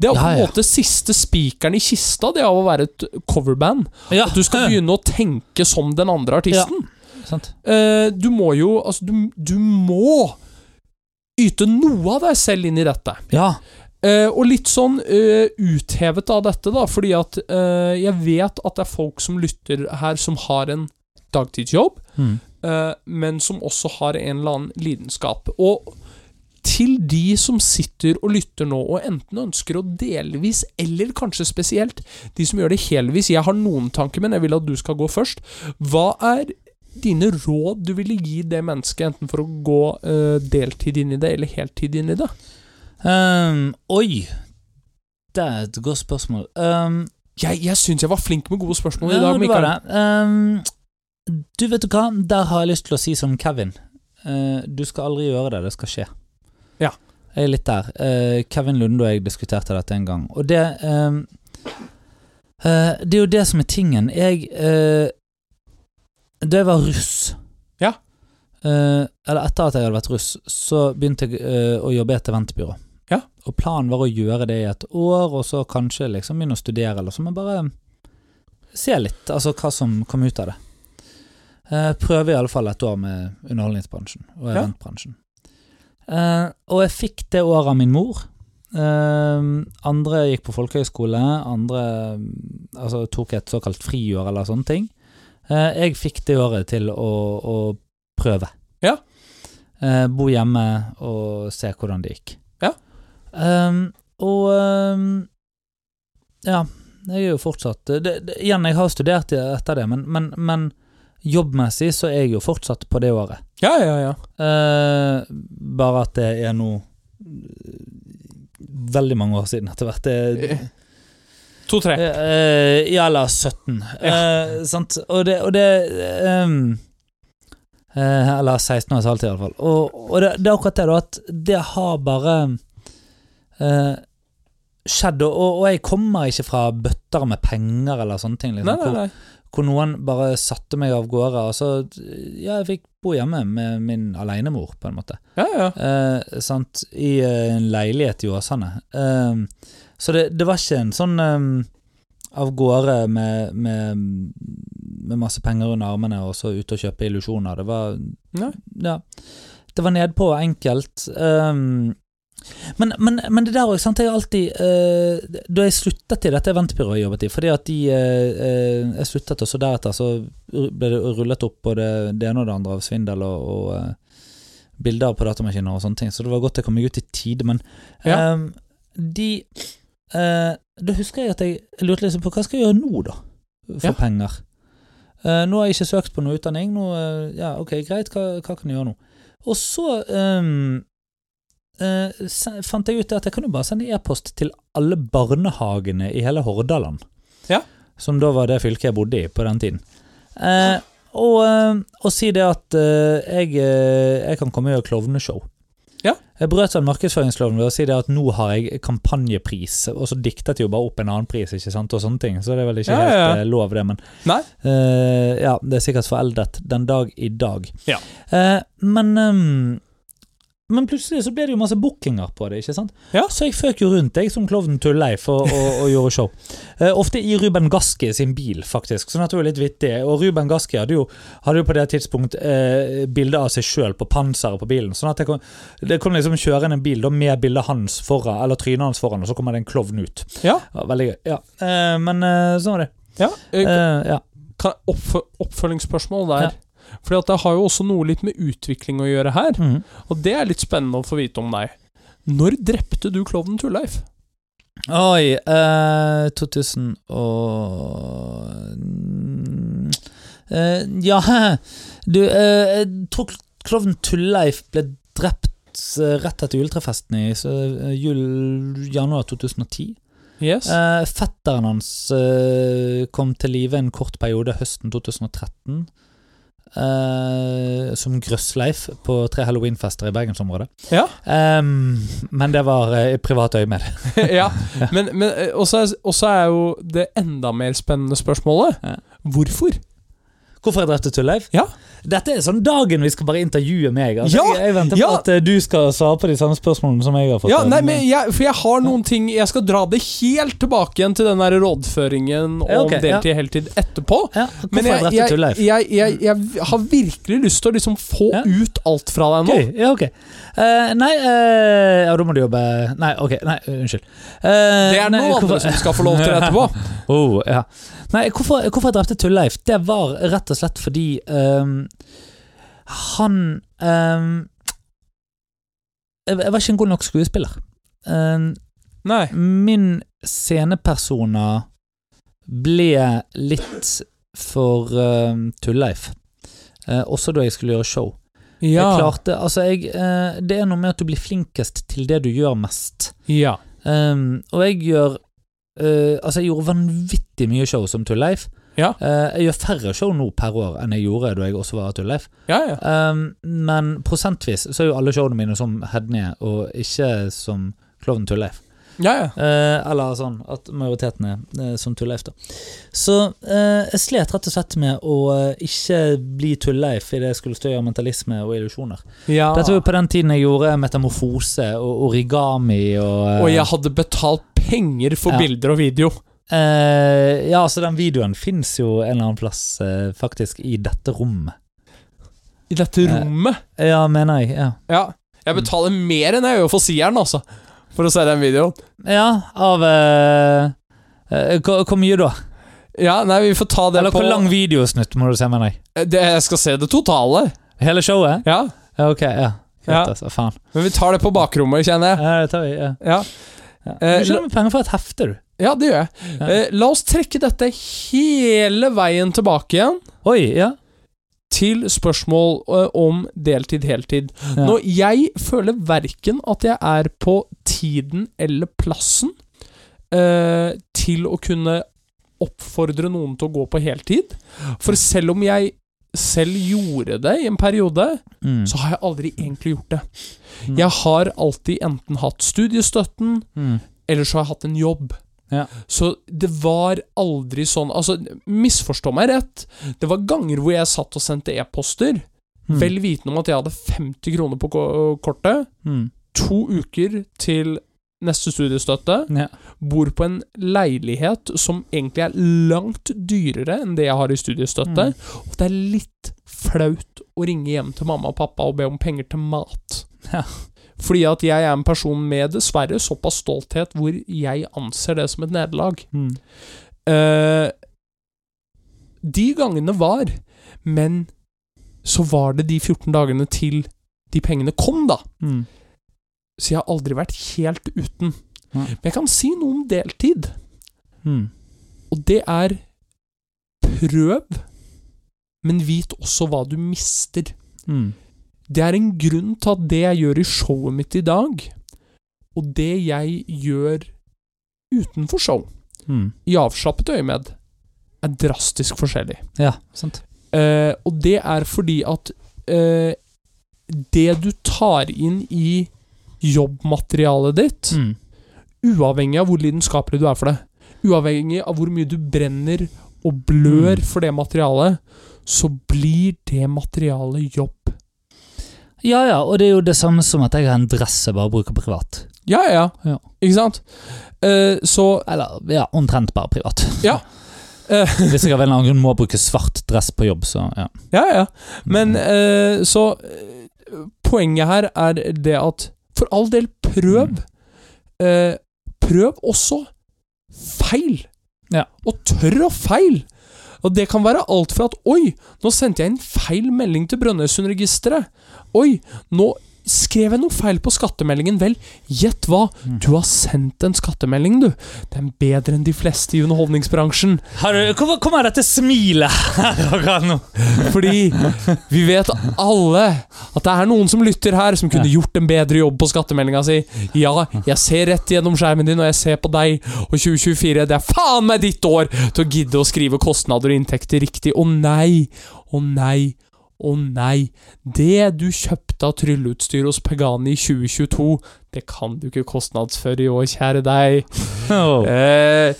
Det Ja, er på en ja. måte siste spikeren i kista, det av å være et coverband. Ja. At du skal begynne å tenke som den andre artisten. Sant. Eh, du må jo Altså, du, du må yte noe av deg selv inn i dette. Ja. Eh, og litt sånn eh, uthevet av dette, da, fordi at eh, jeg vet at det er folk som lytter her, som har en dagtidsjobb, Mm. eh, men som også har en eller annen lidenskap. Og til de som sitter og lytter nå, og enten ønsker å delvis, eller kanskje spesielt, de som gjør det helvis Jeg har noen tanker, men jeg vil at du skal gå først. Hva er dine råd du ville gi det mennesket, enten for å gå eh, deltid inn i det, eller heltid inn i det? Ehm, oi. Det er et godt spørsmål. Ehm, Jeg, jeg syns jeg var flink med gode spørsmål i ja, dag, det var Mikael. det. Ehm, du vet du hva, der har jeg lyst til å si som Kevin. Eh, du skal aldri gjøre det, det skal skje. Ja. Jeg er litt der. Eh, Kevin Lunde og jeg diskuterte dette en gang, og det ehm, eh, Det er jo det som er tingen. Jeg eh, Da jeg var russ Ja. eh, Eller etter at jeg hadde vært russ, så begynte jeg eh, å jobbe i et eventbyrå. Og planen var å gjøre det i et år, og så kanskje liksom begynne å studere, eller så, men bare se litt, altså hva som kom ut av det. Eh, prøve i alle fall et år med underholdningsbransjen og Ja. eventbransjen. Eh, og jeg fikk det året av min mor. Eh, andre gikk på folkehøyskole, andre mm, altså, tok et såkalt friår eller sånne ting. Eh, jeg fikk det året til å, å prøve. Ja. Eh, bo hjemme og se hvordan det gikk. Ja. Ehm, og ehm, ja, jeg er jo fortsatt det, det, Igjen, jeg har studert i- etter det, men, men, men jobbmessig så er jeg jo fortsatt på det året. Ja, ja, ja. Eh, bare at det er nå eh, veldig mange år siden etter hvert. Det, Eh, To-tre. Eh, ja, eller 17. Eh, sant? Og det, og det ehm, eh, Eller 16 og et halvt, i alle fall. Og, og det, det er akkurat det, da, at det har bare eh, skjedd. Og, og jeg kommer ikke fra bøtter med penger eller sånne ting. Liksom, Nei, nei, nei. Hvor, hvor noen bare satte meg av gårde. Og så Ja, jeg fikk bo hjemme med min alenemor, på en måte. Ja, ja. Eh, sant? I eh, en leilighet i Åsane. Eh, så det, det var ikke en sånn eh, av gårde med, med, med masse penger under armene og så ut og kjøpe illusjoner. Det var Nei. Ja. Det var nedpå og enkelt. eh, men, men, men det der òg, sant. Jeg har alltid eh, Da jeg sluttet i dette eventbyrået jeg jobbet i, fordi at de eh, eh, Jeg sluttet, og så deretter så ble det rullet opp både det ene og det andre av svindel og, og eh, bilder på datamaskiner og sånne ting, så det var godt jeg kom meg ut i tide, men Ja. ehm, de eh, Da husker jeg at jeg lurte litt på hva skal jeg gjøre nå, da? For Ja. penger. Eh, nå har jeg ikke søkt på noe utdanning. Nå, eh, ja, ok, greit, hva, hva kan jeg gjøre nå? Og så ehm, eh, se- fant jeg ut det at jeg kan jo bare sende e-post til alle barnehagene i hele Hordaland. Ja. Som da var det fylket jeg bodde i på den tiden. Eh, og, eh, og si det at eh, jeg, eh, jeg kan komme og gjøre klovneshow. Ja. Jeg brøt sånn markedsføringsloven ved å si det at nå har jeg kampanjepris, og så diktet jeg jo bare opp en annen pris, ikke sant, og sånne ting. Så det er vel ikke Ja, ja, helt ja. eh, lov, det, men Nei. eh, Ja, det er sikkert foreldet den dag i dag. Ja. Eh, men ehm, Men plutselig så ble det jo masse bookinger på det. ikke sant? Ja. Så jeg føk jo rundt jeg som klovnen Tulleif og, og, og gjorde show. Eh, ofte i Ruben Gaski sin bil, faktisk. Sånn at det var litt vittig. Og Ruben Gaski hadde jo, hadde jo på det tidspunkt eh, bilde av seg sjøl på panseret på bilen. Sånn at det kom, det kom liksom kjørende en bil da, med bildet hans foran, eller trynet hans foran, og så kommer det en klovn ut. Ja. Ja, veldig gøy. Ja. Eh, men eh, sånn var det. ja. Eh, Eh, ja. Kan, oppf oppfølgingsspørsmål der. Fordi at det har jo også noe litt med utvikling å gjøre her. Mhm. Og det er litt spennende å få vite om deg. Når drepte du klovnen Tulleif? Oi eh, 2000 og Mm, eh, Ja, du eh, Jeg tror klovnen Tulleif ble drept eh, rett etter juletrefesten i så, eh, jul, januar 2010. Yes. Eh, fetteren hans eh, kom til live en kort periode høsten 2013. eh, som Grøssleif på tre halloweenfester i bergensområdet. Ja. Em, men det var eh, i privat øyemed. ja. Men, men eh, også, er, også er jo det enda mer spennende spørsmålet Ja. Hvorfor? Hvorfor jeg drepte Tulleif? Ja. Dette er sånn dagen vi skal bare intervjue meg. Altså, Ja, jeg, jeg venter ja. på at eh, du skal svare på de samme spørsmålene som jeg har fått. Ja, nei, men jeg, For jeg har noen ting Jeg skal dra det helt tilbake igjen til den der rådføringen om Ja, ok, ja. deltid heltid etterpå. ja, Hvorfor Men jeg, jeg, drepte jeg, Tulleif? jeg, jeg, jeg har virkelig lyst til å liksom få Ja. ut alt fra deg nå. Gøy. Ja, ok. Eh, nei eh, Ja, da må du jobbe Nei, ok. Nei, unnskyld. Eh, Det er nei, noen andre hvorfor- som skal få lov til det etterpå. Oh, ja. Nei, hvorfor, hvorfor jeg drepte Tulleif? Det var rett og slett fordi ehm, han ehm, jeg, jeg var ikke en god nok skuespiller. Um, Nei. Min scenepersona ble litt for uh, tulleif. Eh, også da jeg skulle gjøre show. Ja. Jeg klarte, altså jeg, eh, det er noe med at du blir flinkest til det du gjør mest. ja. Um, og jeg gjør eh, Altså, jeg gjorde vanvittig mye show som Tulleif. Ja. Eh, jeg gjør færre show nå per år enn jeg gjorde da jeg også var Tulleif. Ja, ja. Um, men prosentvis så er jo alle showene mine som Hednie, og ikke som Klovnen Tulleif. ja, ja. Eh, eller sånn at majoriteten er eh, som Tulleif, da. Så eh, jeg slet rett og slett med å eh, ikke bli Tulleif i det jeg skulle stå i av mentalisme og illusjoner. ja. Dette var jo på den tiden jeg gjorde metamorfose og origami og eh, Og jeg hadde betalt penger for Ja. bilder og video. eh, Ja, så den videoen fins jo en eller annen plass eh, faktisk i dette rommet. I Eh. dette rommet. Ja, mener jeg. Ja, Ja. Mm. Jeg betaler mer enn jeg gjør for Sieren, altså. For å se den videoen. ja av eh, eh, Hvor hvor mye da? Ja, nei, vi får ta det Eller på Eh, hvor lang videosnutt må du se, mener jeg? det, Jeg skal se det totale. Hele showet? Ja. Ja, ok, ja. Ja. Fett, altså. Faen. Men vi tar det på bakrommet, kjenner jeg. Ja, det tar vi, ja. Ja, Ja. Eh, Du skjønner med penger for et hefte, du. ja det gjør jeg. Ja. Eh, la oss trekke dette hele veien tilbake igjen. Oi, ja. til spørsmål eh, om deltid-heltid. Ja. Nå, jeg føler verken at jeg er på tiden eller plassen eh, til å kunne oppfordre noen til å gå på heltid. For selv om jeg selv gjorde det i en periode, Mm. så har jeg aldri egentlig gjort det. Mm. Jeg har alltid enten hatt studiestøtten, Mm. eller så har jeg hatt en jobb. Ja. Så det var aldri sånn Altså, misforstå meg rett. Det var ganger hvor jeg satt og sendte e-poster, Mm. vel vitende om at jeg hadde 50 kroner på ko- kortet, Mm. to uker til neste studiestøtte, Ja. bor på en leilighet som egentlig er langt dyrere enn det jeg har i studiestøtte, Mm. og det er litt flaut å ringe hjem til mamma og pappa og be om penger til mat. Ja. Fordi at jeg er en person med dessverre såpass stolthet hvor jeg anser det som et nederlag. Mm. Eh, de gangene var, men så var det de 14 dagene til de pengene kom, da. Mm. Så jeg har aldri vært helt uten. Nei. Men jeg kan si noe om deltid, Mm. og det er prøv, men vit også hva du mister. Mm. Det er en grunn til at det jeg gjør i showet mitt i dag, og det jeg gjør utenfor show, Mm. i avslappet øyemed, er drastisk forskjellig. Ja, sant. Eh, og det er fordi at eh, det du tar inn i jobbmaterialet ditt, Mm. uavhengig av hvor lidenskapelig du er for det, uavhengig av hvor mye du brenner og blør Mm. for det materialet, så blir det materialet jobb. Ja ja, og det er jo det samme som at jeg har en dress jeg bare bruker privat. Ja, ja. Ja. Ikke sant? Eh, så Eller ja, omtrent bare privat. Ja. Eh. Hvis jeg av en eller annen grunn må bruke svart dress på jobb, så ja. Ja, ja. Mm. Men eh, så eh, Poenget her er det at for all del, prøv. Mm. Eh, prøv også feil. Ja. Og tør å feil. Og det kan være alt fra at Oi, nå sendte jeg en feil melding til Brønnøysundregisteret. Oi, nå skrev jeg noe feil på skattemeldingen. Vel, gjett hva? Mm. Du har sendt en skattemelding, du. Den er bedre enn de fleste i underholdningsbransjen. Har du, hvor hvor kommer dette smilet her akkurat nå? Fordi vi vet alle at det er noen som lytter her, som kunne gjort en bedre jobb på skattemeldinga si. Ja, jeg ser rett gjennom skjermen din, og jeg ser på deg. Og 2024, det er faen meg ditt år til å gidde å skrive kostnader og inntekter riktig. Å nei, å nei, å nei. Det du kjøpte av trylleutstyr hos Pegani i 2022, det kan du ikke kostnadsføre i år, kjære deg. Åh. Eh,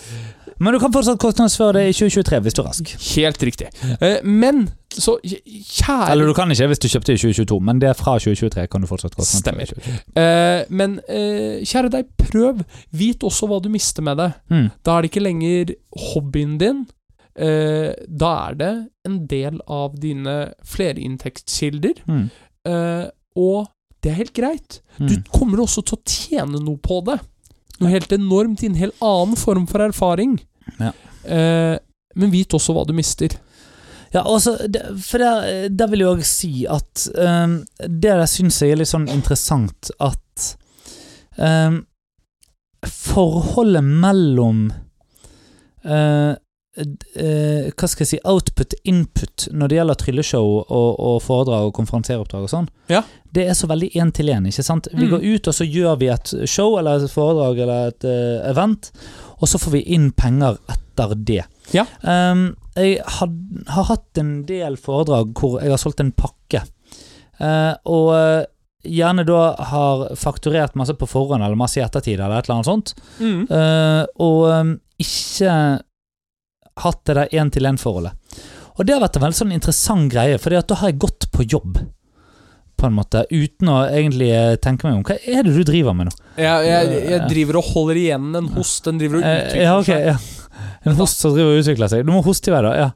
Men du kan fortsatt kostnadsføre det i 2023 hvis du er rask. helt riktig. Eh, men så, kjære Eller du kan ikke hvis du kjøpte i 2022, men det er fra 2023. kan du fortsatt kostnadsføre i 2023. Eh, men eh, kjære deg, prøv. Vit også hva du mister med det. Mm. Da er det ikke lenger hobbyen din. Eh, da er det en del av dine flerinntektskilder. Mm. Eh, og det er helt greit. Mm. Du kommer også til å tjene noe på det. Noe helt enormt i en helt annen form for erfaring. Ja. Eh, men vit også hva du mister. Ja, også, det- for der, der vil jeg òg si at ehm, Det der syns jeg er litt sånn interessant at ehm, Forholdet mellom eh, d- eh, Hva skal jeg si Output-input når det gjelder trylleshow og, og foredrag og konferanseroppdrag og sånn, Ja. det er så veldig én til én. ikke sant? Vi Mm. går ut, og så gjør vi et show eller et foredrag eller et eh, event, og så får vi inn penger etter det. Ja. Ehm, jeg had, har hatt en del foredrag hvor jeg har solgt en pakke. Eh, og eh, gjerne da har fakturert masse på forhånd eller masse i ettertid eller et eller annet sånt. Mm. Eh, og eh, ikke hatt det der én-til-én-forholdet. Og det har vært en veldig sånn interessant greie, for da har jeg gått på jobb. På en måte, Uten å egentlig eh, tenke meg om. Hva er det du driver med nå? Jeg, jeg, Ja. jeg driver og holder igjen en host. Den driver og Eh, utvikler ja, ok, seg. ja. En host som driver og utvikler seg. Du må hoste i vei, da. Ja.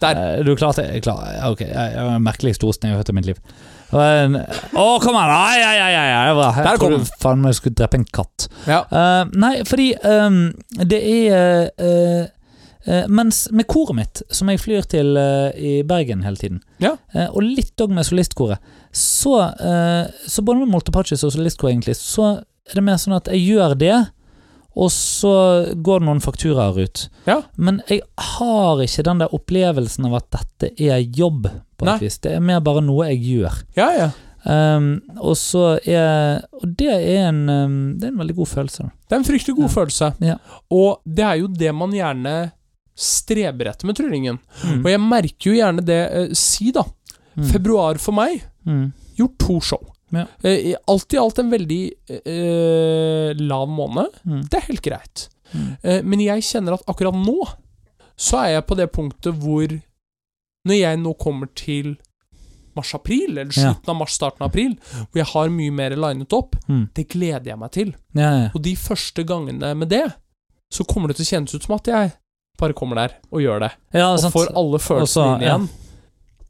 Der. Eh, Du er klar til jeg er klar. Ja, ok. Jeg jeg var den merkeligste hosten jeg har hørt i mitt liv. Det var en- Å, kom an! Ai, ai, ai, ai, ai. Det var- Der Jeg kom trodde faen meg jeg skulle drepe en katt. Ja. Eh, nei, fordi eh, det er eh, eh, Mens med koret mitt, som jeg flyr til eh, i Bergen hele tiden, Ja. eh, og litt òg med solistkoret, så, eh, så både med Moltepachis og solistkoret, egentlig, så er det mer sånn at jeg gjør det, og så går det noen fakturaer ut. Ja. Men jeg har ikke den der opplevelsen av at dette er jobb, på Nei. et vis. Det er mer bare noe jeg gjør. ja, ja. Um, og så er Og det er en, um, det er en veldig god følelse. Da. Det er en fryktelig god Ja. følelse. Ja. Og det er jo det man gjerne streber etter med tryllingen. Og jeg merker jo gjerne det eh, Si, da. Mm. Februar for meg Mm. gjort to show. Ja. Eh, i- alt i alt en veldig eh, lav måned. Mm. Det er helt greit. Mm. Eh, men jeg kjenner at akkurat nå så er jeg på det punktet hvor Når jeg nå kommer til mars-april, eller Ja. slutten av mars, starten av april, hvor jeg har mye mer linet opp, Mm. det gleder jeg meg til. Ja, ja. Og de første gangene med det, så kommer det til å kjennes ut som at jeg bare kommer der og gjør det. ja, Og sant. får alle følelsene Og så- inn ja. igjen.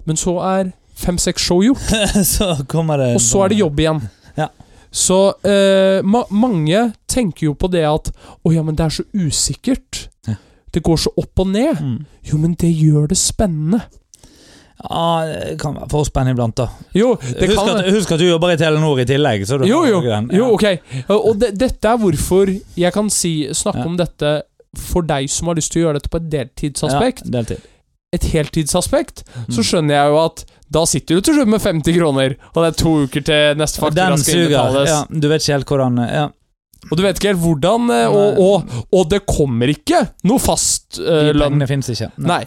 Men så er fem-seks show gjort, så kommer det og så er det jobb igjen. Ja. Så eh, ma mange tenker jo på det at Å ja, men det er så usikkert. Ja. Det går så opp og ned. Mm. Jo, men det gjør det spennende. Ja, det kan være for spennende iblant, da. Jo, det Husk kan at, husk at du jobber i Telenor i tillegg. Så du Jo, jo. Ja. jo ok. Og det, dette er hvorfor jeg kan si, snakke Ja. om dette for deg som har lyst til å gjøre dette på et deltidsaspekt. Ja, deltid. et heltidsaspekt, så Mm. skjønner jeg jo at da sitter du til slutt med 50 kroner, og det er to uker til neste faktura Den skal suger. innbetales. Ja, du vet ikke helt hvordan ja. Og du vet ikke helt hvordan eh, Og, og, og det kommer ikke noe fast eh, De lønn. pengene fins ikke. Nei. Nei.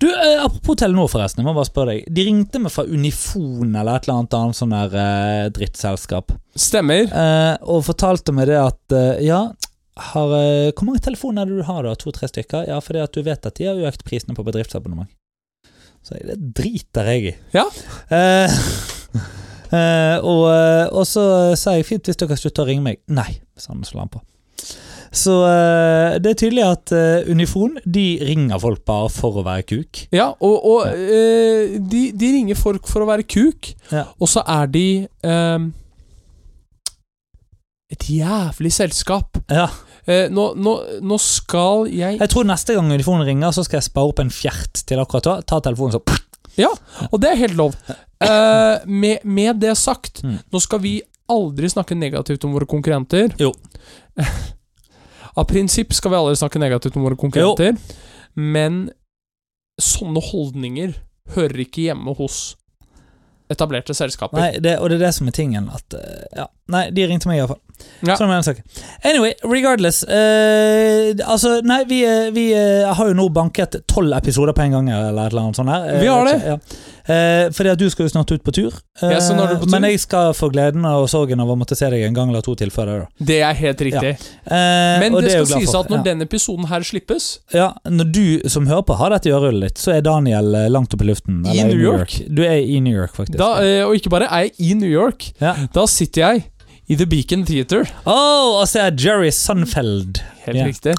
Du, eh, Apropos Telenor, forresten. Jeg må bare spørre deg De ringte meg fra Unifon eller et eller annet annet sånn der eh, drittselskap. Stemmer. Eh, og fortalte meg det at eh, Ja, har, eh, hvor mange telefoner er det du har da? To-tre stykker? Ja, fordi at du vet at de har økt prisene på bedriftsabonnement. Så jeg, det driter jeg i. Ja. Eh, Eh, og, eh, og så sa jeg fint hvis dere slutter å ringe meg. Nei, sa han og slo han på. Så eh, det er tydelig at eh, Unifon de ringer folk bare for å være kuk. Ja, og, og eh, de, de ringer folk for å være kuk, Ja. og så er de eh, et jævlig selskap. Ja. Eh, nå, nå, nå skal jeg Jeg tror neste gang Unifon ringer, så skal jeg spare opp en fjert til akkurat da. Ta telefonen sånn. Og det er helt lov. Eh, med, med det sagt, Mm. nå skal vi aldri snakke negativt om våre konkurrenter. Jo. Av prinsipp skal vi aldri snakke negativt om våre konkurrenter, men sånne holdninger hører ikke hjemme hos etablerte selskaper. Nei, det, og det er det som er tingen. At, eh, ja. Nei, de ringte meg iallfall. Ja. Ja. Sånn er den saken. Anyway, regardless. eh, altså, nei, vi, eh, vi eh, har jo nå banket tolv episoder på en gang, eller et eller annet sånt her. Eh, Vi har vet det. ikke, Ja. Eh, fordi at du skal jo snart ut på tur. Eh, Jeg skal snart ut på tur. Men jeg skal få gleden og sorgen av å måtte se deg en gang eller to til før det. da. Det er helt riktig. Eh, Men og det er jeg skal glad sies for. at når ja. denne episoden her slippes Ja, når du som hører på har dette i øret ditt, så er Daniel eh, langt oppe i luften. I eller New Du er i New York, faktisk. da, eh, Og ikke bare er jeg i New York, Ja. da sitter jeg i The Beacon Theater. Åh, og så er Jerry Sunfeld. Helt Ja. riktig.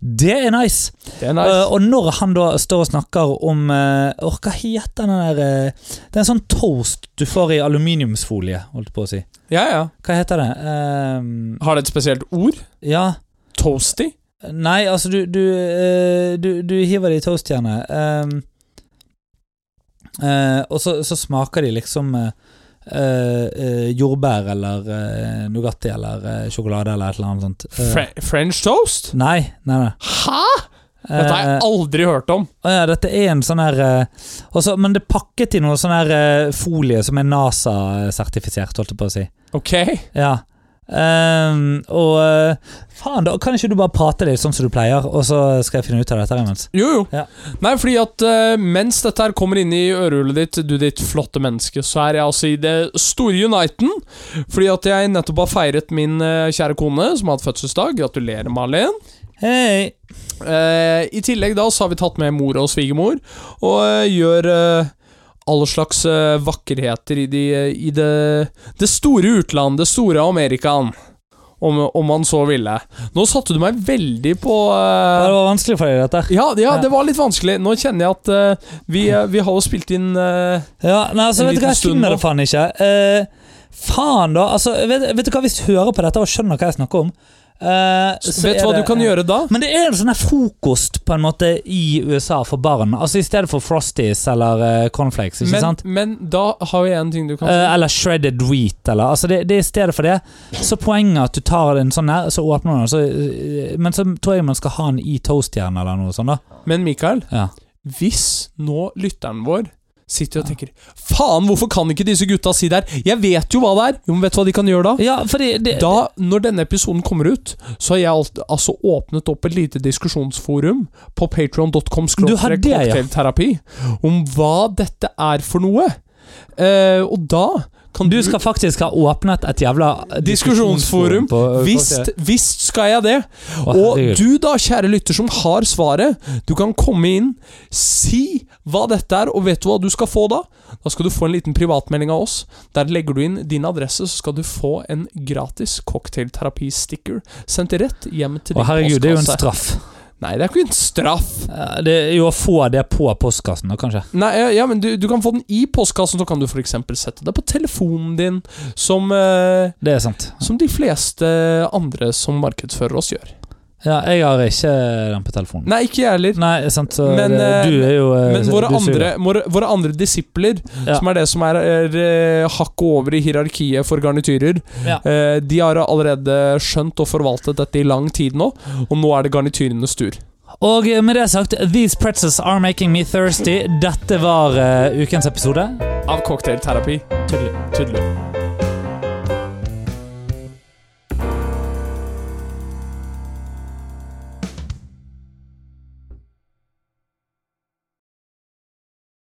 Det er nice. Det er nice. Eh, og når han da står og snakker om eh, åh, Hva heter den der eh, Det er en sånn toast du får i aluminiumsfolie, holdt jeg på å si. ja, ja. Hva heter det? Ehm, Har det et spesielt ord? ja Toasty? Nei, altså, du Du, eh, du, du hiver det i toastjernet. ehm, eh, og så, så smaker de liksom eh, eh, eh, jordbær eller eh, Nugatti eller eh, sjokolade eller et eller annet sånt. Eh, Fre French toast? nei, nei, nei. Hæ?! Dette har Eh, jeg aldri hørt om. Å ja, dette er en sånn her eh, også, Men det er pakket i noe sånn her eh, folie som er NASA-sertifisert, holdt jeg på å si. Ok. Ja. Ehm, og eh, faen, da kan ikke du bare prate litt sånn som du pleier, og så skal jeg finne ut av dette her imens? Jo, jo. Ja. Nei, fordi at eh, mens dette her kommer inn i ørehullet ditt, du ditt flotte menneske, så er jeg altså i det store Uniten. Fordi at jeg nettopp har feiret min eh, kjære kone, som har hatt fødselsdag. Gratulerer, Malin. Hei! Eh, I tillegg da så har vi tatt med mor og svigermor, og eh, gjør eh, alle slags eh, vakkerheter i, de, i det, det store utlandet, det store Amerikaen. Om, om man så ville. Nå satte du meg veldig på Ja, eh, Det var vanskelig for deg, dette. her. ja, ja, det var litt vanskelig. Nå kjenner jeg at eh, vi, eh, vi har jo spilt inn eh, Ja, nei, altså, En vet du hva, liten jeg stund finner nå. det faen ikke. Eh, faen, da. Altså, vet, vet du hva, hvis du hører på dette og skjønner hva jeg snakker om eh, så er Vet du hva du det- kan gjøre da? Men det er en sånn her frokost på en måte i USA for barn. Altså I stedet for Frosties eller eh, Cornflakes. ikke Men, sant? men da har jeg en ting du kan Eh, eller shredded wheat. Eller, altså det, det er I stedet for det Så poenget er at du tar en sånn her, så åpner du den, så, eh, men så tror jeg man skal ha den i toastjernet eller noe sånt. da Men Mikael, Ja. hvis nå lytteren vår sitter og tenker Faen, hvorfor kan ikke disse gutta si det her? Jeg vet jo hva det er! Jo, men vet du hva de kan gjøre da? Ja, fordi det, Da, Når denne episoden kommer ut, så har jeg alt, altså åpnet opp et lite diskusjonsforum på patreon.com Du har det, ja. cocktailterapi om hva dette er for noe. Eh, og da kan Du skal faktisk ha åpnet et jævla Diskusjonsforum. på- Visst, visst skal jeg det. Å, Og herregud. du da, kjære lytter som har svaret, du kan komme inn, si hva dette er, og vet du hva du skal få da? Da skal du få en liten privatmelding av oss. Der legger du inn din adresse, så skal du få en gratis cocktailterapi-sticker sendt rett hjem til Å, din herregud, det er jo en postkasse. straff. Nei, det er ikke en straff. Eh, Det er jo å få det på postkassen, da, kanskje. Nei, ja, ja, men du, du kan få den i postkassen, så kan du f.eks. sette det på telefonen din, som, eh, Det er sant. som de fleste andre som markedsfører oss gjør. Ja, jeg har ikke den på telefonen. Nei, ikke jeg heller. Nei, sant, så Men, det, eh, du er jo eh, Men så- våre du er sur. andre, våre, våre andre disipler, Ja. som er det som er, er eh, hakket over i hierarkiet for garnityrer, Ja. eh, de har allerede skjønt og forvaltet dette i lang tid nå, og nå er det garnityrenes tur. Og eh, med det sagt, these pretzels are making me thirsty. Dette var eh, ukens episode. Av cocktailterapi. Tydelig. Tydelig.